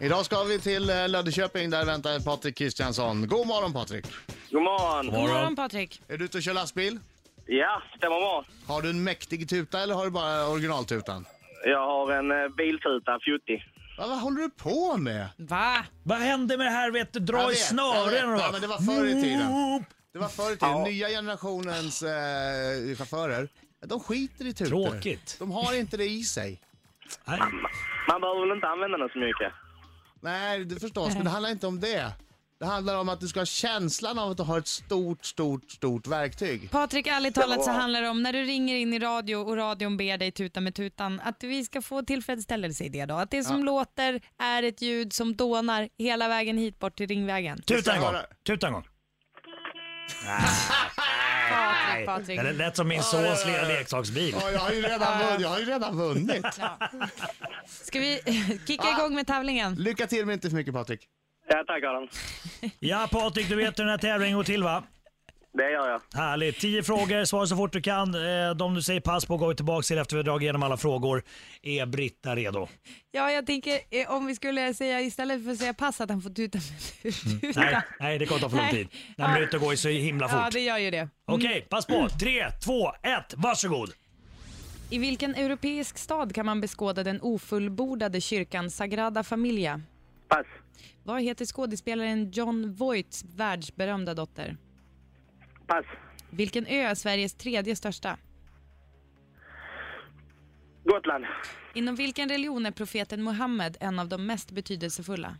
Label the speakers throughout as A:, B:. A: Idag ska vi till eh, Löddeköping. Där väntar Patrik Kristiansson. God morgon Patrik!
B: God morgon.
C: God morgon Patrik.
A: Är du ute och kör lastbil?
B: Ja, stämmer bra.
A: Har du en mäktig tuta eller har du bara originaltutan?
B: Jag har en eh, biltuta, fjuttig.
A: Vad, vad håller du på med?
C: Va?
D: Vad hände med det här vet du?
A: Jag
D: Dra
A: vet,
D: i
A: jag vet.
D: snören och...
A: Ja, men det var förr i tiden. Det var förr i tiden.
B: Ja.
A: Nya generationens eh, chaufförer, de skiter i tutor.
D: Tråkigt.
A: De har inte det i sig.
D: Nej.
B: Man behöver väl inte använda den så mycket?
A: Nej, det förstås, men det handlar inte om det. Det handlar om att du ska ha känslan av att du har ett stort, stort, stort verktyg.
C: Patrik, ärligt talat så
B: Ja.
C: handlar det om när du ringer in i radio och radion ber dig tuta med tutan, att vi ska få tillfredsställelse i det då. Att det som låter är ett ljud som dånar hela vägen hit bort till Ringvägen.
D: Tuta en gång.
A: höra.
D: Tuta en gång.
C: Patrik, Patrik.
D: Det lät som min sons lilla leksaksbil.
A: Ja, jag har ju redan vunnit. Jag har ju redan vunnit.
C: Ska vi kicka igång med tävlingen?
A: Lycka till men inte för mycket Patrik.
B: Ja, tack Adam.
D: Ja Patrik, du vet hur den här tävlingen går till va?
B: Det gör jag.
D: Härligt. Tio frågor, svara så fort du kan. Eh, De du säger pass på går vi tillbaka till efter vi har dragit igenom alla frågor. Är Britta redo?
C: Ja, jag tänker eh, om vi skulle säga istället för att säga pass att han får tuta med tutan.
D: Nej, nej det kommer ta för lång
C: Mm. Nej.
D: tid. Nej, men det går ju så himla
C: Ja,
D: fort.
C: det gör ju det.
D: Okej, pass på. Tre, två, ett, varsågod.
C: I vilken europeisk stad kan man beskåda den ofullbordade kyrkan Sagrada Familia?
B: Pass.
C: Vad heter skådespelaren John Voights världsberömda dotter?
B: Pass.
C: Vilken ö är Sveriges tredje största?
B: Gotland.
C: Inom vilken religion är profeten Muhammed en av de mest betydelsefulla?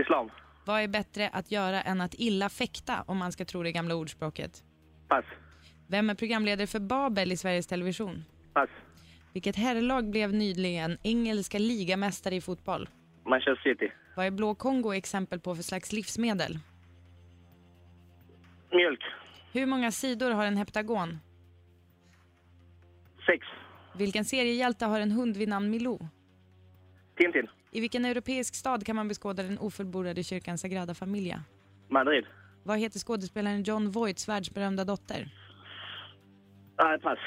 B: Islam.
C: Vad är bättre att göra än att illa fäkta om man ska tro det gamla ordspråket?
B: Pass.
C: Vem är programledare för Babel i Sveriges Television?
B: Pass.
C: Vilket herrlag blev nyligen engelska ligamästare i fotboll?
B: Manchester City.
C: Vad är blå Kongo exempel på för slags livsmedel?
B: Mjölk.
C: Hur många sidor har en heptagon?
B: Sex.
C: Vilken seriehjälte har en hund vid namn Milou?
B: Tintin.
C: I vilken europeisk stad kan man beskåda den ofullbordade kyrkan Sagrada Familia?
B: Madrid.
C: Vad heter skådespelaren John Voights världsberömda dotter?
B: Nej, pass.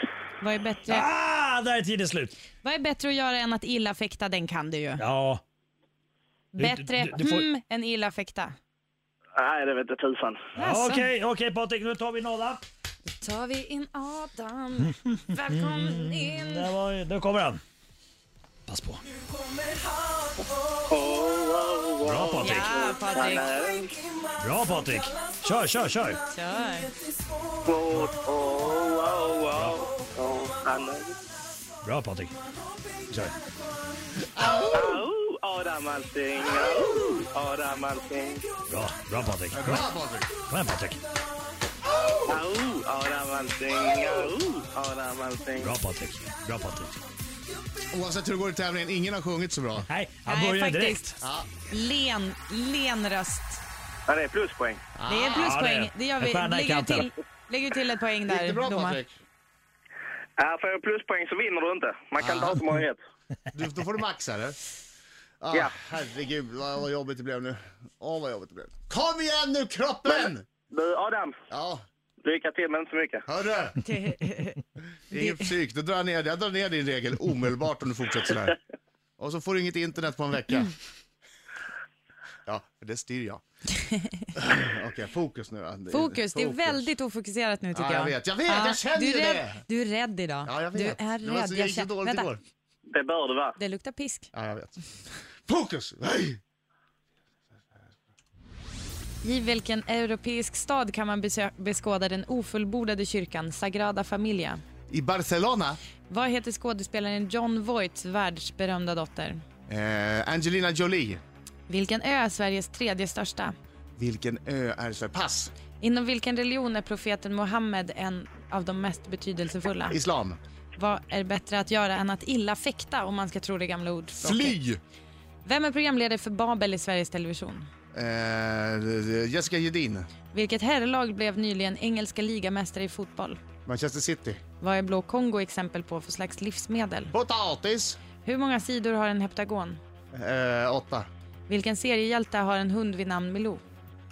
C: Vad är bättre,
D: Ah, där är tiden slut.
C: vad är bättre att göra än att illa fäkta? Den kan du ju.
D: Ja,
C: bättre
D: du- du får-
C: hmm än illa fäkta.
B: Nej, det vet jag tusan.
C: Alltså.
D: Ja, okej, okej Patrik, nu tar vi nolla.
C: tar vi in Adam. Välkommen in.
D: Där var, nu kommer han. Pass på. Bra Patrik.
C: Ja, Patrik.
D: Bra Patrik. Kör, kör, kör.
C: Kör.
B: Wow, wow, wow, wow. Oh, han...
D: Bra Patrik. Kör.
B: Au, Adam allting. Au, Adam allting.
D: Bra, bra Patrik. Kom igen, Kom igen Patrik.
B: Au, Adam allting. Au, Adam allting.
D: Bra Patrik. Bra Patrik.
A: Oavsett hur det går i tävlingen, ingen har sjungit så bra.
D: Nej, han
C: Nej,
D: börjar direkt.
C: faktiskt. Len, len röst.
B: Ja, det är pluspoäng.
C: Det är
D: Ja, det
C: pluspoäng.
D: är-
C: Det gör
D: en
C: vi.
D: stjärna i
C: Lägger du
D: kanten.
C: till, lägger du till ett poäng där,
A: Gick det bra
C: domaren?
A: Patrik?
B: Ja, får jag pluspoäng så vinner du inte. Man kan inte ha så många rätt.
A: Du, då får du maxa det. Ah,
B: Ja.
A: Herregud vad, vad jobbigt det blev nu. Åh vad jobbigt det blev. Kom igen nu kroppen!
B: Du, Adam.
A: Ja,
B: Lycka till, men inte så mycket.
A: hörru! Ingen psyk, då drar jag ner, jag drar ner din regel omedelbart om du fortsätter sådär. Och så får du inget internet på en vecka. Ja, det styr jag. Okej, fokus nu. då.
C: Fokus, det är väldigt ofokuserat nu tycker
A: Ja, jag vet. Jag vet, jag känner
C: du är
A: ju
C: rädd,
A: det.
C: Du är rädd idag.
A: Ja, jag vet.
C: Du är
A: Det var
C: rädd.
A: så, jag gick så
C: känner-
A: dåligt
C: Vänta,
A: igår.
B: Det bör du vara.
C: det luktar pisk.
A: Ja, jag vet. Fokus! Nej!
C: I vilken europeisk stad kan man besö- beskåda den ofullbordade kyrkan Sagrada Familia?
A: I Barcelona,
C: Vad heter skådespelaren John Voights världsberömda dotter?
A: eh, Angelina Jolie.
C: Vilken ö är Sveriges tredje största?
A: Vilken ö är så? Pass!
C: Inom vilken religion är profeten Muhammed en av de mest betydelsefulla?
A: Islam.
C: Vad är bättre att göra än att illa fäkta om man ska tro det gamla ordspråket?
A: Fly!
C: Vem är programledare för Babel i Sveriges Television?
A: Eh, Jessica Jedin.
C: Vilket herrlag blev nyligen engelska ligamästare i fotboll?
A: Manchester City.
C: Vad är blå Kongo exempel på för slags livsmedel?
A: Potatis!
C: Hur många sidor har en heptagon?
A: Eh, åtta.
C: Vilken seriehjälte har en hund vid namn Milou?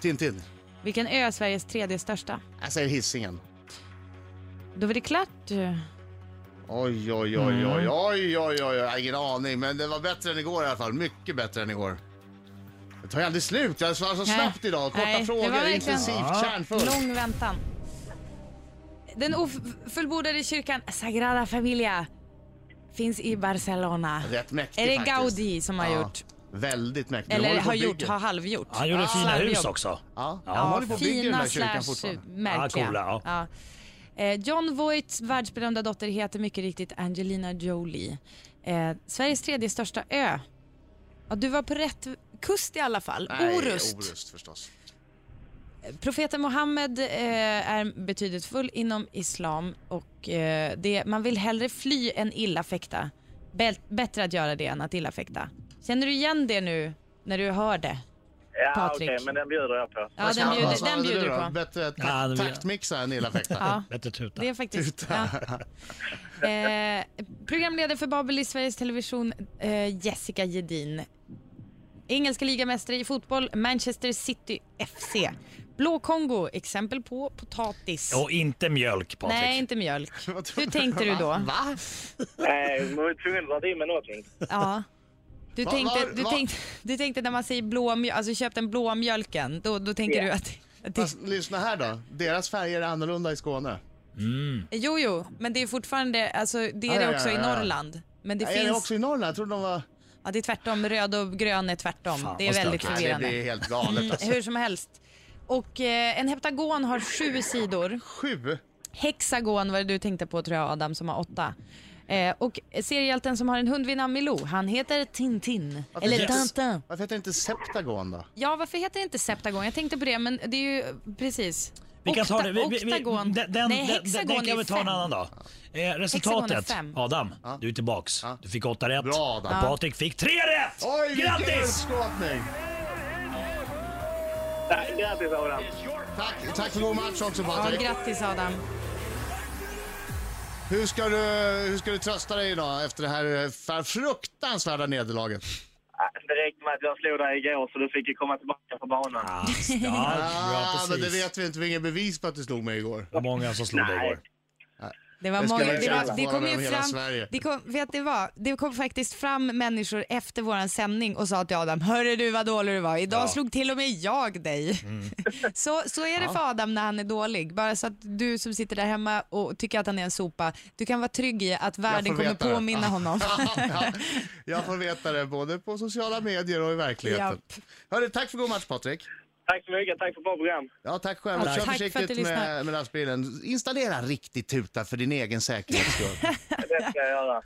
A: Tintin.
C: Vilken ö är Sveriges tredje största?
A: Jag säger Hisingen.
C: Då var det klart.
A: Oj, oj, oj, oj, oj, oj, oj, oj, ingen aning. Men det var bättre än igår i alla fall. Mycket bättre än igår. Det tar ju aldrig slut. Jag svarar så
C: Nej.
A: snabbt idag. Korta
C: Nej, det
A: frågor,
C: var verkligen-
A: intensivt,
D: Ja.
A: kärnfullt.
C: Lång väntan. Den ofullbordade kyrkan Sagrada Familia finns i Barcelona.
A: Rätt mäktig
C: Är det
A: faktiskt.
C: Gaudí som har gjort?
A: Väldigt mäktig. De
C: Eller
A: håller på
C: har
A: och
C: gjort,
A: bygger.
C: har halvgjort?
D: Han gjorde fina
C: Slarvjobb.
D: hus också.
A: Ja,
D: Ja,
A: de håller på och bygger den
C: Fina
A: här kyrkan
C: slash
A: fortfarande.
C: märkliga.
D: Ja, coola,
C: Ja. Eh, John Voights världsberömda dotter heter mycket riktigt Angelina Jolie. Eh, Sveriges tredje största ö. Ja, du var på rätt kust i alla fall.
A: Nej,
C: Orust.
A: Orust förstås.
C: Profeten Mohammed eh, är betydelsefull inom islam och eh, det, man vill hellre fly än illa fäkta. Bäl- bättre att göra det än att illa fäkta. Känner du igen det nu när du hör det?
B: Ja,
C: Patrik.
B: okej, men den bjuder jag på.
C: Ja, den
A: Vad
C: bjuder,
A: sa
C: den
A: du
C: bjuder
A: då?
C: du på.
A: Bättre tak-
D: Ja, den-
A: taktmixa än illa fäkta.
C: Ja,
D: Bättre tuta.
C: det är faktiskt... Ja. Eh, programledare för Babel i Sveriges Television, eh, Jessica Jedin. Engelska ligamästare i fotboll, Manchester City FC. Blå Kongo, exempel på potatis.
D: Och inte mjölk Patrik.
C: Nej, inte mjölk. Hur tänkte du då?
A: Va?
B: Nej, man var ju tvungen att dra in med någonting.
C: Ja. Du
A: Va-
C: tänkte,
A: var-
C: du,
A: va-
C: tänkte, du tänkte när man säger blå mjölk, alltså köp den blå mjölken, då, då tänker
B: Ja.
C: du att... att det,
A: Fast, lyssna här då. Deras färger är annorlunda i Skåne.
C: jo, jo, men det är fortfarande, alltså det är
A: Ja,
C: det
A: ja,
C: också
A: ja,
C: i
A: ja, ja.
C: Norrland. Men det
A: Är det
C: finns,
A: också i Norrland? Jag trodde de var...
C: ja det är tvärtom, röd och grön är tvärtom.
D: Fan,
C: det är
D: vad
C: väldigt
D: stökigt.
A: Nej, det
C: förvirrande.
A: blir helt galet. Alltså.
C: Hur som helst. Och eh, en heptagon har sju sidor.
A: Sju?
C: Hexagon var det du tänkte på tror jag Adam som har åtta. Eh, och seriehjälten som har en hund vid namn Milou, han heter Tintin. Eller
D: Yes.
C: Tintin.
A: Varför heter det inte Septagon då?
C: Ja, varför heter det inte septagon? Jag tänkte på det, men det är ju precis.
D: Vi kan ta det. Vi, vi, vi,
C: Oktagon.
D: den, den,
C: Nej,
D: den, den
C: hexagon
D: den kan
C: är
D: vi ta en
C: fem.
D: annan dag. Eh,
C: Hexagon är
D: resultatet.
C: fem.
D: Adam, du är tillbaks. Du fick åtta rätt.
A: Bra, Adam.
D: Och Patrik fick tre rätt!
A: Oj, vilken
D: Grattis!
A: utskåpning!
B: Nej, Grattis Adam!
A: Tack, tack för god match också
C: Ja,
A: Patrik.
C: grattis Adam.
A: Hur ska, du, hur ska du trösta dig idag efter det här eh, fa- fruktansvärda nederlaget?
B: Ja, Det räckte med att jag slog dig igår så du fick ju komma tillbaka på banan.
D: Ah, ja, bra,
A: Ah,
D: precis.
A: men det vet vi inte, vi har inget bevis på att du slog mig igår.
D: Det var många som slog dig
B: Nej.
D: igår.
C: Det var
A: Det ska
C: många,
A: vi
C: det,
A: känna
C: var, det
A: på
C: kom
A: över
C: ju
A: hela
C: fram,
A: Sverige.
C: det kom, vet ni vad? Det kom faktiskt fram människor efter våran sändning och sa till Adam, hörru du vad dålig du var, idag slog till och med jag dig.
A: Mm.
C: så, så är det för Adam när han är dålig, bara så att du som sitter där hemma och tycker att han är en sopa, du kan vara trygg i att
A: Jag får
C: världen kommer
A: veta det.
C: påminna honom.
A: Ja, jag får veta det både på sociala medier och i verkligheten. Hörru, tack för god match Patrik.
B: Tack så mycket, tack för ett bra program.
A: Ja, tack själv.
C: Ja,
A: Kör
C: tack för att
A: försiktigt
C: du lyssnar.
A: med, med lastbilen. Installera riktig tuta för din egen säkerhets skull.
B: Det ska jag göra.